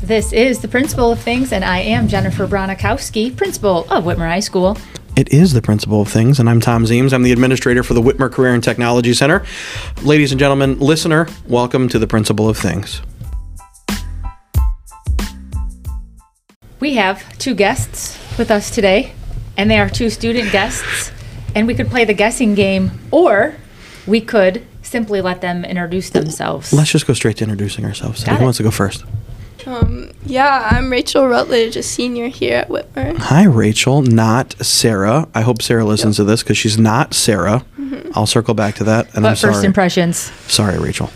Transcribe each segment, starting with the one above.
This is The Principle of Things, and I am Jennifer Bronikowski, Principal of Whitmer High School. It is the principle of things, and I'm Tom Zeems. I'm the administrator for the Whitmer Career and Technology Center. Ladies and gentlemen, listener, welcome to the principle of things. We have two guests with us today, and they are two student guests. And we could play the guessing game, or we could simply let them introduce themselves. Let's just go straight to introducing ourselves. Got Who it. wants to go first? Um, yeah, I'm Rachel Rutledge, a senior here at Whitmer. Hi, Rachel, not Sarah. I hope Sarah listens to this because she's not Sarah. I'll circle back to that. And Mm-hmm. but I'm first sorry. impressions. sorry, Rachel.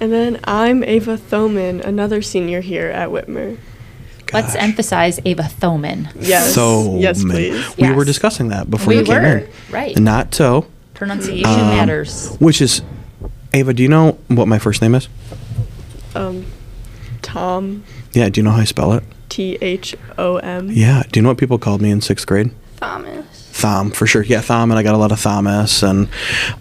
And then I'm Ava Thoman, another senior here at Whitmer. Let's Gosh. emphasize Ava Thoman. Yes. So yes, many- please. We Yes. were discussing that before We you came were, in. right. Not so. Pronunciation Um, matters. Which is, Ava, do you know what my first name is? Um, Tom, Yeah, do you know how I spell it? T H O M. Yeah. Do you know what people called me in sixth grade? Thomas. Thom, for sure. Yeah, Thom, and I got a lot of Thomas, and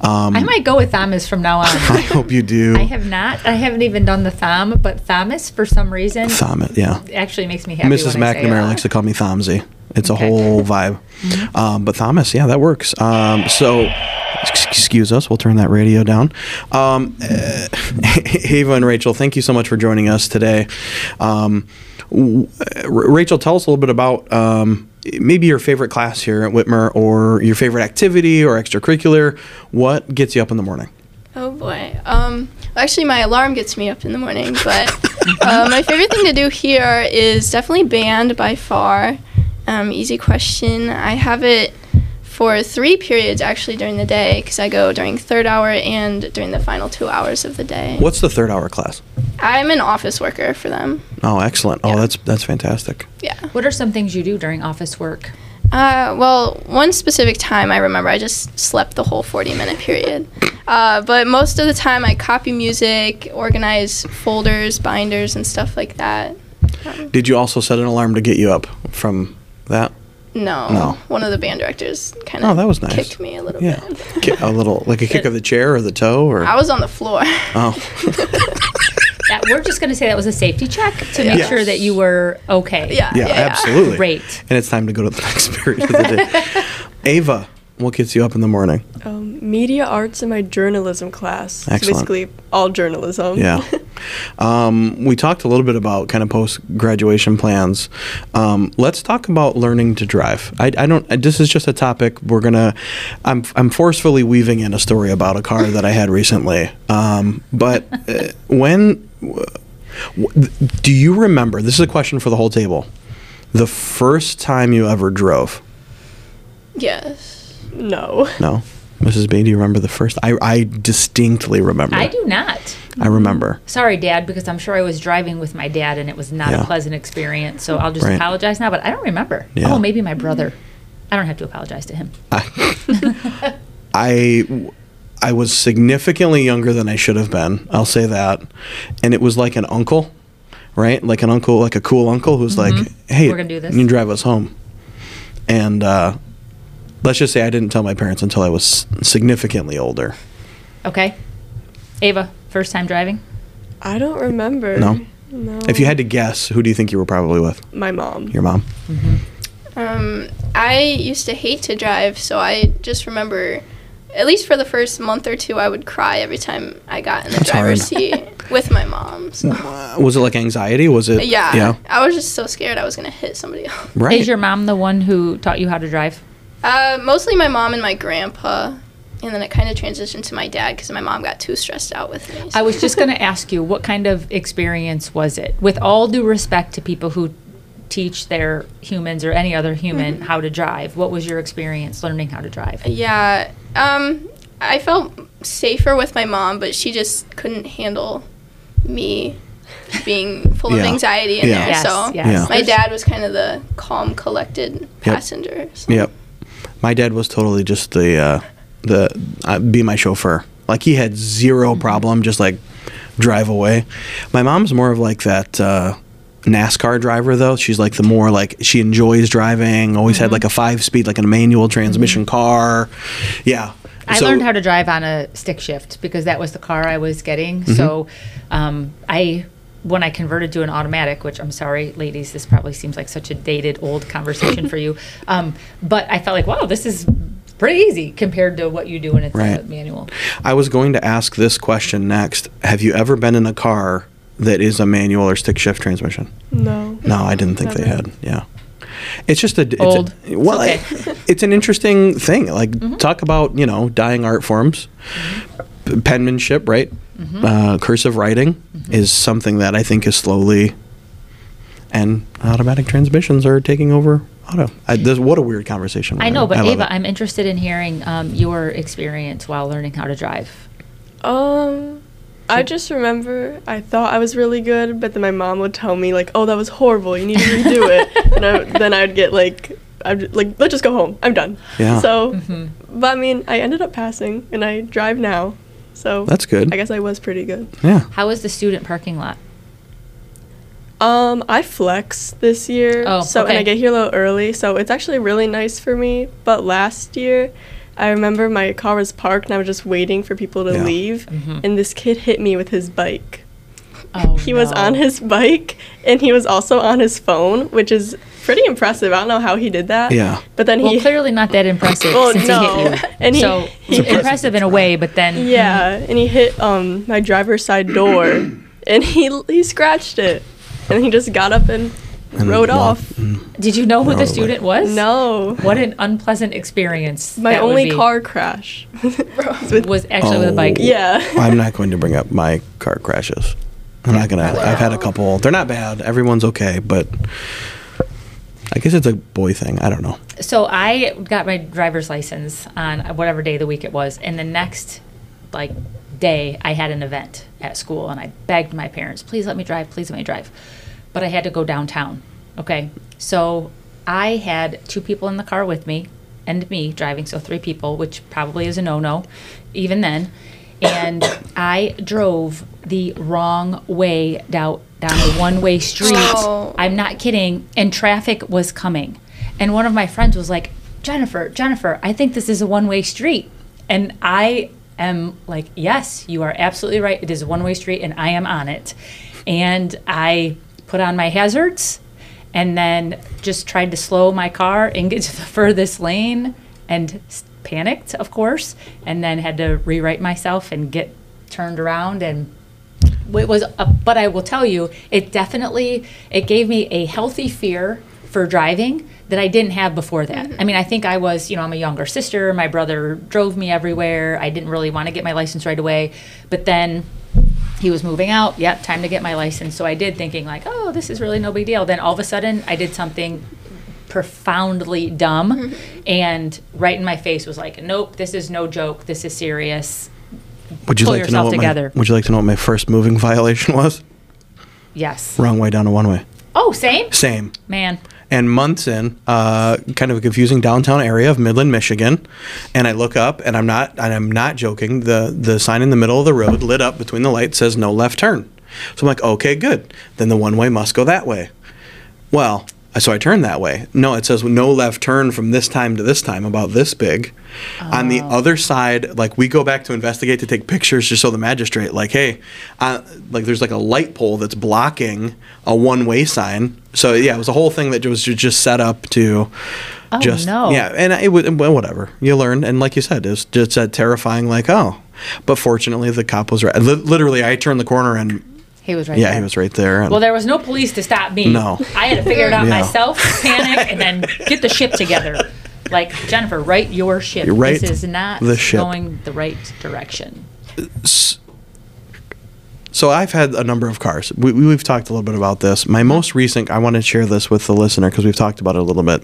um, I might go with Thomas from now I on. hope you do. I have not. I haven't even done the thom, but Thomas for some reason Thomas, yeah. actually makes me happy. Mrs. when I say McNamara that. likes to call me Thomsy. It's Okay. Mm-hmm. a whole vibe. Um, but Thomas, yeah, that works. Um, so, ex- excuse us, we'll turn that radio down. Um, uh, Ava and Rachel, thank you so much for joining us today. Um, w- uh, R- Rachel, tell us a little bit about um, maybe your favorite class here at Whitmer or your favorite activity or extracurricular. What gets you up in the morning? Oh boy. Um, actually, my alarm gets me up in the morning, but uh, my favorite thing to do here is definitely band by far. Um, easy question. I have it for three periods actually during the day because I go during third hour and during the final two hours of the day. What's the third hour class? I'm an office worker for them. Oh, excellent. Oh, that's that's fantastic. Yeah. What are some things you do during office work? Uh, well, one specific time I remember, I just slept the whole 40 minute period. Uh, but most of the time, I copy music, organize folders, binders, and stuff like that. Um, Did you also set an alarm to get you up from that? No. No. One of the band directors kind of Oh, that was nice. kicked me a little Yeah, bit. Ki- a little like a kick of the chair or the toe or I was on the floor. oh, That, we're just going to say that was a safety check to make Yes. sure that you were okay. yeah, yeah, absolutely. Great. And it's time to go to the next period of the day. Ava, what gets you up in the morning? Um, media arts in my journalism class. So Excellent. basically, all journalism. Yeah. Um, we talked a little bit about kind of post graduation plans. Um, let's talk about learning to drive. I, I don't. This is just a topic we're gonna. I'm I'm forcefully weaving in a story about a car that I had recently. Um, but uh, when w- w- do you remember? This is a question for the whole table. The first time you ever drove. Yes. No. No, Mrs. B. Do you remember the first? I I distinctly remember. I do not. I remember. Sorry, Dad, because I'm sure I was driving with my dad and it was not Yeah. a pleasant experience. So I'll just Right. apologize now, but I don't remember. Yeah. Oh, maybe my brother. I don't have to apologize to him. I I was significantly younger than I should have been. I'll say that. And it was like an uncle, right? Like an uncle, like a cool uncle who's like, "Hey, We're gonna do this." you can drive us home." And uh, let's just say I didn't tell my parents until I was significantly older. Okay. Ava, first time driving? I don't remember. No. No. If you had to guess, who do you think you were probably with? my mom. Your mom. Mm-hmm. Um, I used to hate to drive, so I just remember, at least for the first month or two, I would cry every time I got in the That's driver's hard. seat with my mom. So. Uh, was it like anxiety? Was it? Yeah. Yeah. I was just so scared I was going to hit somebody else. Right. Is your mom the one who taught you how to drive? Uh, mostly my mom and my grandpa. And then it kind of transitioned to my dad because my mom got too stressed out with me. I was just going to ask you, what kind of experience was it? With all due respect to people who teach their humans or any other human how to drive, what was your experience learning how to drive? yeah. Um, I felt safer with my mom, but she just couldn't handle me being full Yeah. of anxiety in Yeah. there. Yes, so yes. Yeah. my dad was kind of the calm, collected passenger. so- Yep. My dad was totally just the uh, the uh, be my chauffeur. Like he had 0 Mm-hmm. problem just like drive away. My mom's more of like that uh, NASCAR driver though. She's like the more like she enjoys driving. Always Mm-hmm. had like a five speed like a manual transmission car. Yeah. I So- learned how to Mm-hmm. drive on a stick shift because that was the car I was getting. So um, I when I converted to an automatic, which I'm sorry, ladies, this probably seems like such a dated, old conversation for you. Um, but I felt like, wow, this is pretty easy compared to what you do when it's a Right. manual. I was going to ask this question next. Have you ever been in a car that is a manual or stick shift transmission? No. No, I didn't think they Never. had. Yeah. It's just a it's a- Old. It's well, okay. Mm-hmm. I- it's an interesting thing. Like talk about you know dying art forms, P- penmanship, right? Mm-hmm. Uh, cursive writing is something that I think is slowly, and automatic transmissions are taking over auto. I, this, what a weird conversation. we're I know, but having. love Ava, it. I'm interested in hearing um, your experience while learning how to drive. Um, I just remember I thought I was really good, but then my mom would tell me like, "Oh, that was horrible. You need to redo it." and I, then I'd get like, I'd like, "Let's just go home. I'm done." Yeah. So, Mm-hmm. but I mean, I ended up passing, and I drive now. So That's good. I guess I was pretty good. yeah. How is the student parking lot? Um, I flex this year, Oh, so and okay. I get here a little early, so it's actually really nice for me. But last year, I remember my car was parked and I was just waiting for people to Yeah. leave, and this kid hit me with his bike. Mm-hmm. Oh, He was on his bike and he was also on his phone, which is pretty impressive. I don't know how he did that. Yeah. But then Well, he clearly not that impressive Well, since he no. hit you. And he- so he- impressive in a way, but then yeah, and he hit um my driver's side door and he he scratched it. And he just got up and, And mm. rode walk- off. Did you know who the Probably. student was? No. What an unpleasant experience. My that would only be. car crash. With- was actually with a bike. Oh. yeah. I'm not going to bring up my car crashes. I'm not gonna. I've had a couple. They're not bad. Everyone's okay, but I guess it's a boy thing. I don't know. So I got my driver's license on whatever day of the week it was, and the next like day I had an event at school, and I begged my parents, "Please let me drive. Please let me drive." But I had to go downtown. Okay, so I had two people in the car with me, and me driving, so three people, which probably is a no-no, even then. And I drove the wrong way down down a one-way street. Oh. I'm not kidding. And traffic was coming. And one of my friends was like, Jennifer, Jennifer, I think this is a one way street. And I am like, yes, you are absolutely right. It is a one way street and I am on it. And I put on my hazards and then just tried to slow my car and get to the furthest lane and s- panicked, of course, and then had to rewrite myself and get turned around and it was a, but i will tell you it definitely it gave me a healthy fear for driving that i didn't have before that i mean i think i was you know i'm a younger sister my brother drove me everywhere i didn't really want to get my license right away but then he was moving out yep time to get my license so i did thinking like oh this is really no big deal then all of a sudden i did something profoundly dumb and right in my face was like nope this is no joke this is serious Would you Pull like to know yourself what together. my Would you like to know what my first moving violation was? yes Wrong way down a one way. oh same Same. man And months in, uh, kind of a confusing downtown area of Midland, Michigan, and I look up, and I'm not, and I'm not joking. The the sign in the middle of the road lit up between the lights says no left turn. So I'm like, okay, good. Then the one way must go that way. Well, so I turned that way. No, it says no left turn from this time to this time, about this big. On the Oh. other side, like we go back to investigate to take pictures just so the magistrate, like, hey, uh, like there's like a light pole that's blocking a one way sign. So yeah, it was a whole thing that was ju- just set up to. Oh, just, no. Yeah, and it would well, whatever you learn, and like you said, it's just that terrifying. Like oh, but fortunately the cop was right. Li- literally, I turned the corner and He was right. yeah, there. he was right there. And Well, there was no police to stop me. No. I had to figure it out Yeah. myself, panic, and then get the ship together. Like Jennifer, write your ship. Right this is not the ship. going the right direction. So I've had a number of cars. We, we- we've talked a little bit about this. My most recent, I want to share this with the listener because we've talked about it a little bit.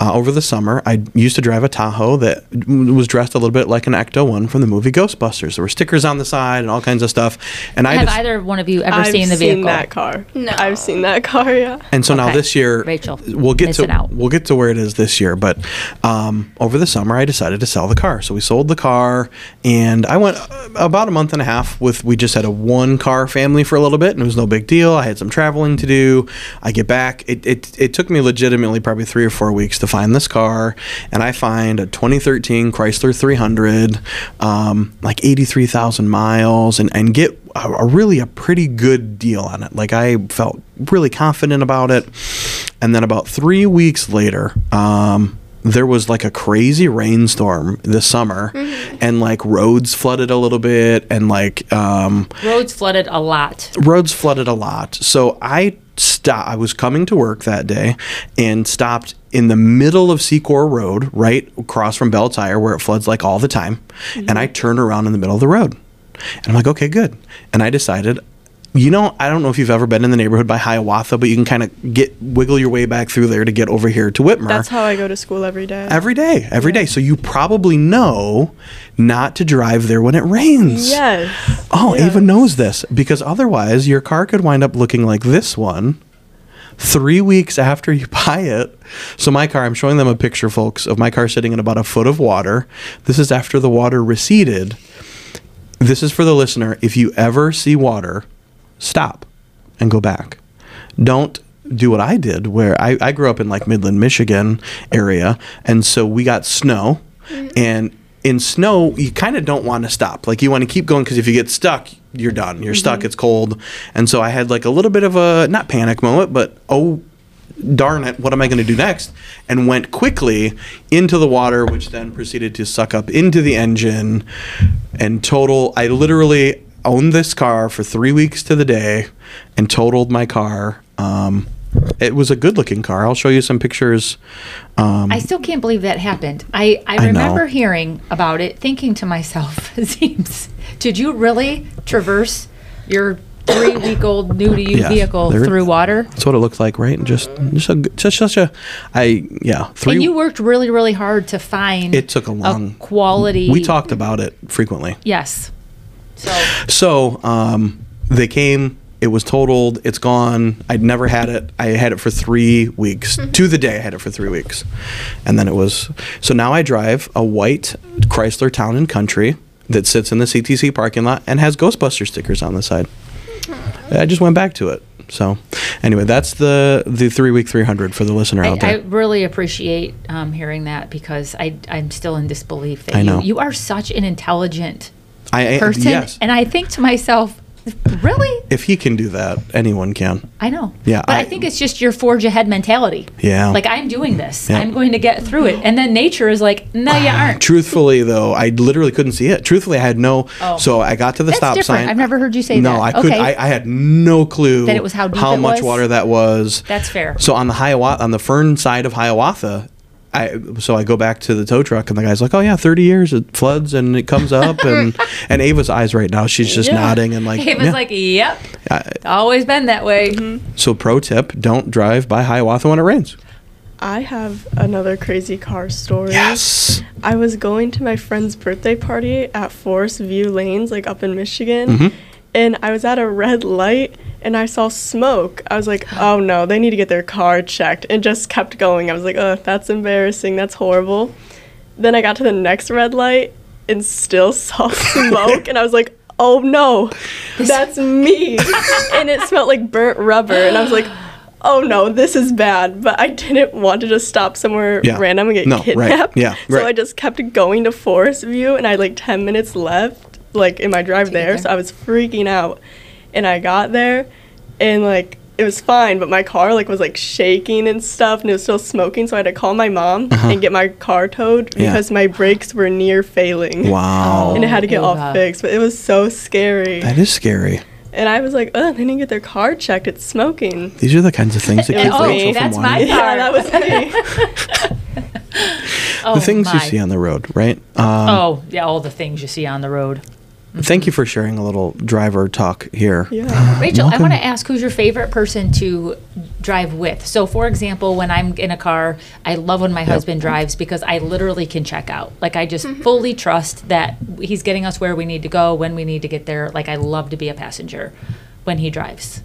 Uh, over the summer, I used to drive a Tahoe that w- was dressed a little bit like an Ecto one from the movie Ghostbusters. There were stickers on the side and all kinds of stuff. And I Have just, either one of you ever I've seen the vehicle? that car. No. I've seen that car, yeah. and so now Okay. this year, Rachel, we'll get missing to out. we'll get to where it is this year. But um, over the summer, I decided to sell the car. So we sold the car, and I went uh, about a month and a half with. We just had a one car family for a little bit, and it was no big deal. I had some traveling to do. I get back. It it, it took me legitimately probably three or four weeks to to find this car, and I find a 2013 Chrysler 300, um, like 83,000 miles, and and get a, a really a pretty good deal on it. Like I felt really confident about it, and then about three weeks later. Um, there was like a crazy rainstorm this summer and like roads flooded a little bit and like um, Roads flooded a lot. roads flooded a lot. So I stop. I was coming to work that day and stopped in the middle of Secor Road, right across from Bell Tire, where it floods like all the time. And Mm-hmm. I turned around in the middle of the road, and I'm like, okay, good. And I decided. You know, I don't know if you've ever been in the neighborhood by Hiawatha, but you can kind of get wiggle your way back through there to get over here to Whitmer That's how I go to school every day. every day, every day. So you probably know not to drive there when it rains. yes. Oh, Yeah. Ava knows this because otherwise your car could wind up looking like this one three weeks after you buy it. So, my car, I'm showing them a picture, folks, of my car sitting in about a foot of water. This is after the water receded. This is for the listener. If you ever see water, stop and go back. Don't do what I did, where I, I grew up in like Midland, Michigan area. And so we got snow. And in snow, you kind of don't want to stop. Like you want to keep going because if you get stuck, you're done. You're stuck. It's cold. And so I had like a little bit of a not panic moment, but oh, darn it, what am I going to do next? And went quickly into the water, which then proceeded to suck up into the engine. And total, I literally owned this car for three weeks to the day and totaled my car. Um, it was a good looking car. I'll show you some pictures. Um, I still can't believe that happened. I, I know. remember hearing about it, thinking to myself, Zeems, did you really traverse your three week old new to you Yes, vehicle there- through water? that's what it looked like, right? And just, just, a, just such a, I, yeah, three. And you worked really, really hard to find it took a long. quality. we talked about it frequently. Yes. So So um, they came. It was totaled. It's gone. I'd never had it. I had it for three weeks. to the day, I had it for three weeks, and then it was. So now I drive a white Chrysler Town and Country that sits in the CTC parking lot and has Ghostbuster stickers on the side. I just went back to it. So anyway, that's the the three week three hundred for the listener out I, I there. really appreciate um, hearing that because I, I'm still in disbelief that I know. You, you are such an intelligent I, I person. yes. And I think to myself, really? if he can do that, anyone can. I know. Yeah, But I, I- think it's just your forge ahead mentality. Yeah. Like, I'm doing this, Yeah. Ah, I'm going to get through it. And then nature is like, no, you aren't. Truthfully, though, I literally couldn't see it. Truthfully, I had no. Oh. So I got to the That's stop different. sign. I've never heard you say no, that. I could. Okay. I, I had no clue That it was how deep it much was? water that was. That's fair. So on the Hiawatha, on the Fern side of Hiawatha. I, so I go back to the tow truck and the guy's like, "Oh yeah, 30 years it floods and it comes up and and Ava's eyes right now she's just Yeah. nodding and like, Dave was yeah. like, yep. I- Mm-hmm. Always been that way. so pro tip, don't drive by Hiawatha when it rains. I have another crazy car story. Yes, I was going to my friend's birthday party at Forest View Lanes, like up in Michigan, Mm-hmm. and I was at a red light and I saw smoke. I was like, oh no, they need to get their car checked, and just kept going. I was like, oh, that's embarrassing, that's horrible. Then I got to the next red light and still saw smoke, and I was like, oh no, that's me. and it smelled like burnt rubber, and I was like, Oh no, this is bad. But I didn't want to just stop somewhere Yeah. random and get No, right. kidnapped. Yeah, So right. I just kept going to Forest View, and I had like 10 minutes left, like in my drive get there. there. So I was freaking out. And I got there, and like it was fine, but my car like was like shaking and stuff, and it was still smoking. So I had to call my mom and get my car towed Uh-huh. Yeah. because my brakes were near failing. wow, Oh. And it had to get Ava. all fixed, but it was so scary. that is scary. And I was like, oh, they didn't get their car checked. It's smoking. These are the kinds of things that And keep oh, Rachel from that's wanting. my Yeah, that was me. Oh, the things you my. see on the road, right? Um, Oh, Mm-hmm. yeah, all the things you see on the road. Thank you for sharing a little driver talk here. yeah. Rachel, I Welcome. want to ask who's your favorite person to drive with? So, for example, when I'm in a car, I love when my husband drives because I literally can check out. Like, I Mm-hmm. just fully trust that he's getting us where we need to go, when we need to get there. Like, I love to be a passenger when he drives.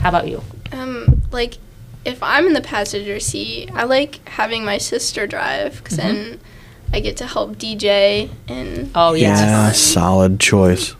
How about you? Um, like, if I'm in the passenger seat, I like having my sister drive because then I get to help DJ and Mm-hmm. Oh, yes. Yeah, solid choice.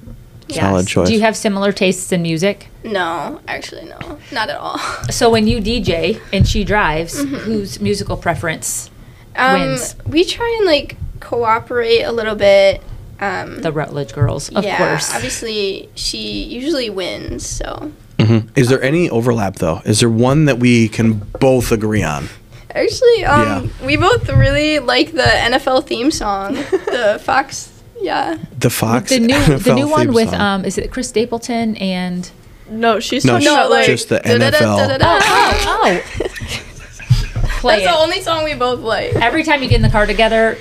Solid choice. Do you have similar tastes in music? no, actually no, not at all. Mm-hmm. So, when you DJ and she drives, whose musical preference Um, wins? We try and like cooperate a little bit. Um, The Rutledge girls, of yeah, course. obviously she usually wins. So Mhm. Is there any overlap though? Is there one that we can both agree on? actually, um, we both really like the NFL theme song, the Fox. Yeah, The Fox. the new the NFL new one theme with song. um is it Chris Stapleton and No, she's No, talking she's about like just the da-da-da-da-da-da. NFL. oh oh play That's the it. only song we both like. Every time you get in the car together,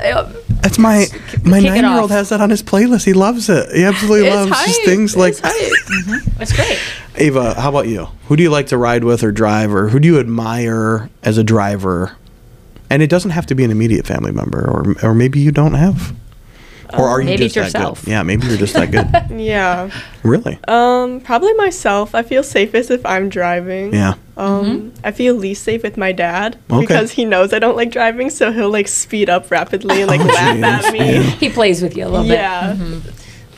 Yep. That's my my kick it nine year off. old has that on his playlist. He loves it. He absolutely It's loves just hype. things like It's hype. it's great. Ava. How about you? Who do you like to ride with or drive, or who do you admire as a driver? And it doesn't have to be an immediate family member, or or maybe you don't have, or are you Maybe just it's that yourself. good? Yeah, maybe you're just that good. yeah. really? Um, probably myself. I feel safest if I'm driving. Yeah. Um, Mm-hmm. I feel least safe with my dad Okay. because he knows I don't like driving, so he'll like speed up rapidly and like Oh, laugh jeez. at me. He plays with you a little Yeah, bit. Mm-hmm.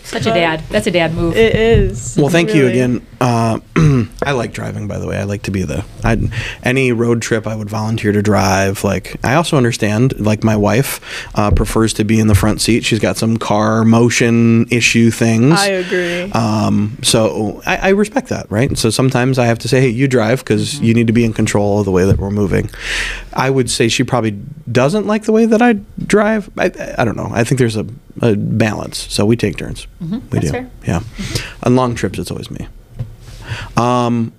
Such a dad. That's a dad move. it is. Well, thank you really. again. Uh, I like driving, by the way. I like to be the. I'd, any road trip, I would volunteer to drive. Like, I also understand. Like, my wife uh, prefers to be in the front seat. She's got some car motion issue things. I agree. Um, so I, I respect that, right? So sometimes I have to say, hey, you drive because Mm-hmm. you need to be in control of the way that we're moving. I would say she probably doesn't like the way that I drive. I, I don't know. I think there's a, a balance. So we take turns. We Mm-hmm. That's do. fair. Mm-hmm. Yeah. On long trips, it's always me. Um,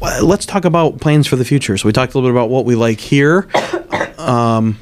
well, let's talk about plans for the future. So we talked a little bit about what we like here. um,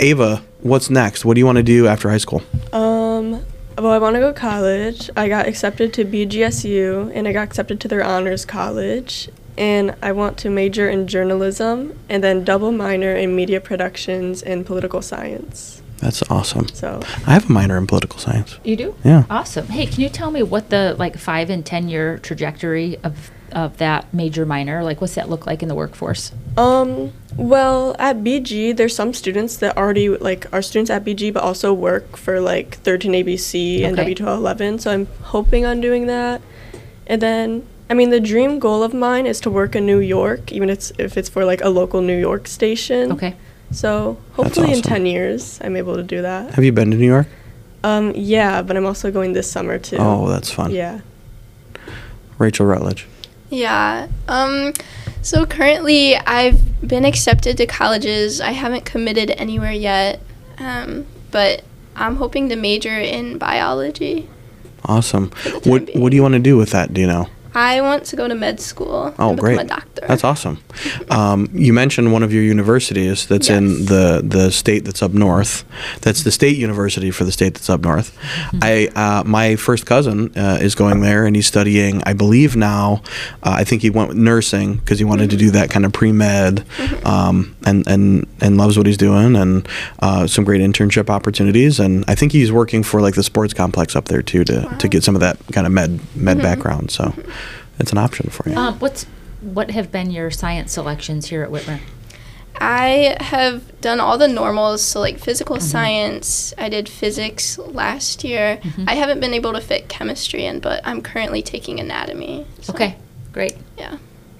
Ava, what's next? What do you want to do after high school? Um, well, I want to go to college. I got accepted to BGSU and I got accepted to their honors college. And I want to major in journalism and then double minor in media productions and political science. That's awesome. So, I have a minor in political science. You do? Yeah. Awesome. Hey, can you tell me what the like five and ten year trajectory of of that major minor like what's that look like in the workforce? um, well, at BG, there's some students that already like are students at BG, but also work for like 13 ABC and Okay. W1211. So I'm hoping on doing that. And then, I mean, the dream goal of mine is to work in New York, even it's, if it's for like a local New York station. Okay. So hopefully in awesome. 10 years, I'm able to do that. Have you been to New York? Um, yeah, but I'm also going this summer too. Oh, that's fun. Yeah. Rachel Rutledge. Yeah. Um, so currently, I've been accepted to colleges. I haven't committed anywhere yet, um, but I'm hoping to major in biology. Awesome. the time What What do you want to do with that? Do you know? I want to go to med school Oh, and great. become a doctor. That's awesome. Um, you mentioned one of your universities that's in Yes. the the state that's up north. That's the state university for the state that's up north. I uh, my first cousin uh, is going there and he's studying. I believe now. Uh, I think he went with nursing because he wanted to do that kind of pre med, um, and and and loves what he's doing and uh, some great internship opportunities. And I think he's working for like the sports complex up there too to to get some of that kind of med med background. So. Mm-hmm. It's an option for you. Um, what's what have been your science selections here at Whitmer? I have done all the normals, so like physical Mm-hmm. science. I did physics last year. Mm-hmm. I haven't been able to fit chemistry in, but I'm currently taking anatomy. so, Okay. Great. Yeah.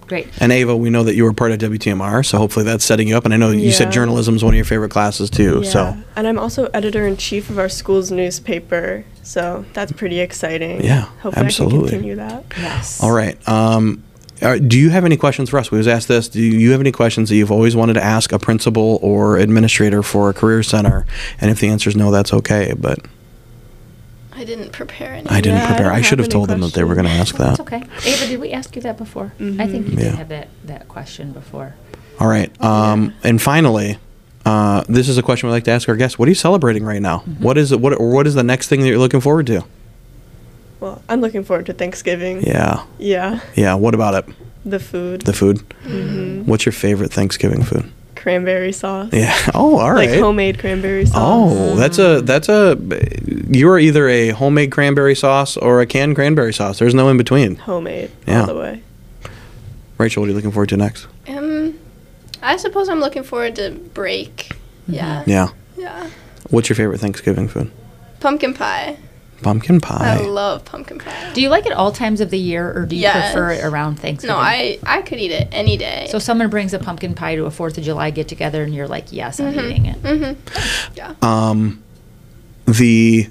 Great. And Ava, we know that you were part of WTMR, so hopefully that's setting you up. And I know you said Yeah. journalism is one of your favorite classes too. yeah. So And I'm also editor in chief of our school's newspaper. So that's pretty exciting. Yeah, Hopefully I absolutely. can continue that. Yes. all right. Um, all right, do you have any questions for us? We was asked this. Do you have any questions that you've always wanted to ask a principal or administrator for a career center? And if the answer is no, that's okay. But I didn't prepare any. I didn't Yeah, I prepare. I, don't should have have any told them that they were going to ask that. That's okay. Ava, did we ask you that before? I think you uh, Mm-hmm. Yeah. did have that, that question before. All right. Um, and finally, uh, this is a question we like to ask our guests. What are you celebrating right now? Mm-hmm. What is it? What or what is the next thing that you're looking forward to? Well, I'm looking forward to Thanksgiving. Yeah. Yeah. Yeah. What about it? The food. Mm-hmm. The food. Mm-hmm. What's your favorite Thanksgiving food? cranberry sauce. Yeah. Oh, all right. Like homemade cranberry sauce. Oh, that's a that's a you are either a homemade cranberry sauce or a canned cranberry sauce. There's no in between. Homemade Yeah. all the way. Rachel, what are you looking forward to next? Um, I suppose I'm looking forward to break. Yeah. Mm-hmm. Yeah. Yeah. What's your favorite Thanksgiving food? Pumpkin pie. Pumpkin I pie. love pumpkin pie. Do you like it all times of the year, or do you Yes. prefer it around Thanksgiving? No, I I could eat it any day. So someone brings a pumpkin pie to a Fourth of July get together, and you're like, "Yes, I'm eating it." Mm-hmm. Um, the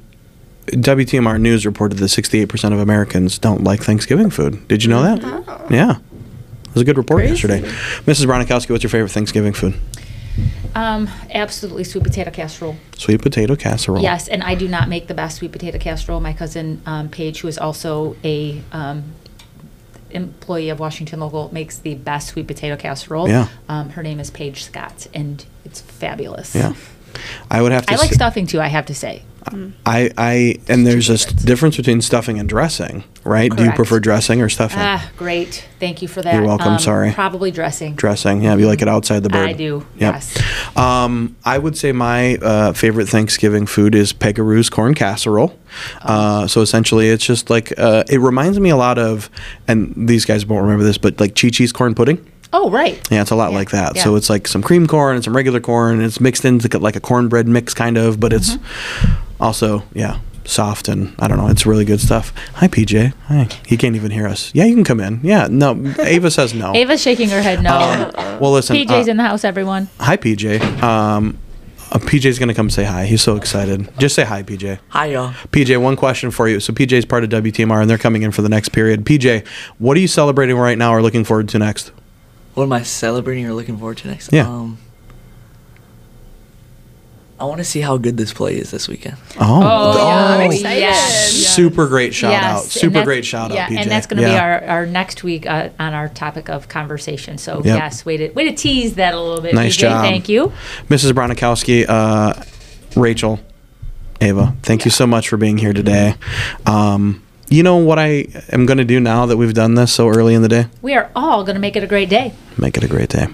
WTMR News reported that 68% of Americans don't like Thanksgiving food. Did you know that? Yeah. It was a good report yesterday. Mrs. Bronikowski, what's your favorite Thanksgiving food? Mm-hmm. Um, absolutely, sweet potato casserole. Sweet potato casserole. Yes, and I do not make the best sweet potato casserole. My cousin um, Paige, who is also a um, employee of Washington Local, makes the best sweet potato casserole. Yeah. Um, her name is Paige Scott, and it's fabulous. Yeah. I would have to I like say- stuffing too. I have to say. Mm. I, I and there's a s- difference between stuffing and dressing, right? Do you Correct. prefer dressing or stuffing? Ah, great. Thank you for that. Um, You're welcome, sorry. Probably dressing. dressing. Yeah, you like it outside the bird. I do, Yep. yes. Um, I would say my uh, favorite Thanksgiving food is Pegaroo's corn casserole. Oh. Uh, so essentially, it's just like uh, it reminds me a lot of, and these guys won't remember this, but like Chi Chi's corn pudding. oh, right. Yeah, it's a lot Yeah, like that. yeah. So it's like some cream corn and some regular corn, and it's mixed into like a cornbread mix kind of, but it's also yeah soft and I don't know. It's really good stuff. Hi, PJ. Hi. He can't even hear us. Yeah, you can come in. Yeah, no. Ava says no. Ava's shaking her head no. Well, Oh. listen. PJ's uh, in the house, everyone. Hi, PJ. Um, uh, PJ's gonna come say hi. He's so excited. Just say hi, PJ. Hi, y'all. PJ, one question for you. So PJ's part of WTMR, and they're coming in for the next period. PJ, what are you celebrating right now or looking forward to next? What am I celebrating or looking forward to next? Yeah. Um, I want to see how good this play is this weekend. Oh, yeah, I'm Oh, excited. yes. super great shout Yes, out. and Super that's- great shout yeah, out, PJ. And that's going to Yeah. be our, our next week uh, on our topic of conversation. So, Yep. yes, way to, way to tease that a little bit. Nice PJ. job. Thank you. Mrs. Bronikowski, uh, Rachel, Ava, thank you so much for being here today. Um, you know what I am going to do now that we've done this so early in the day? We are all going to make it a great day. Make it a great day.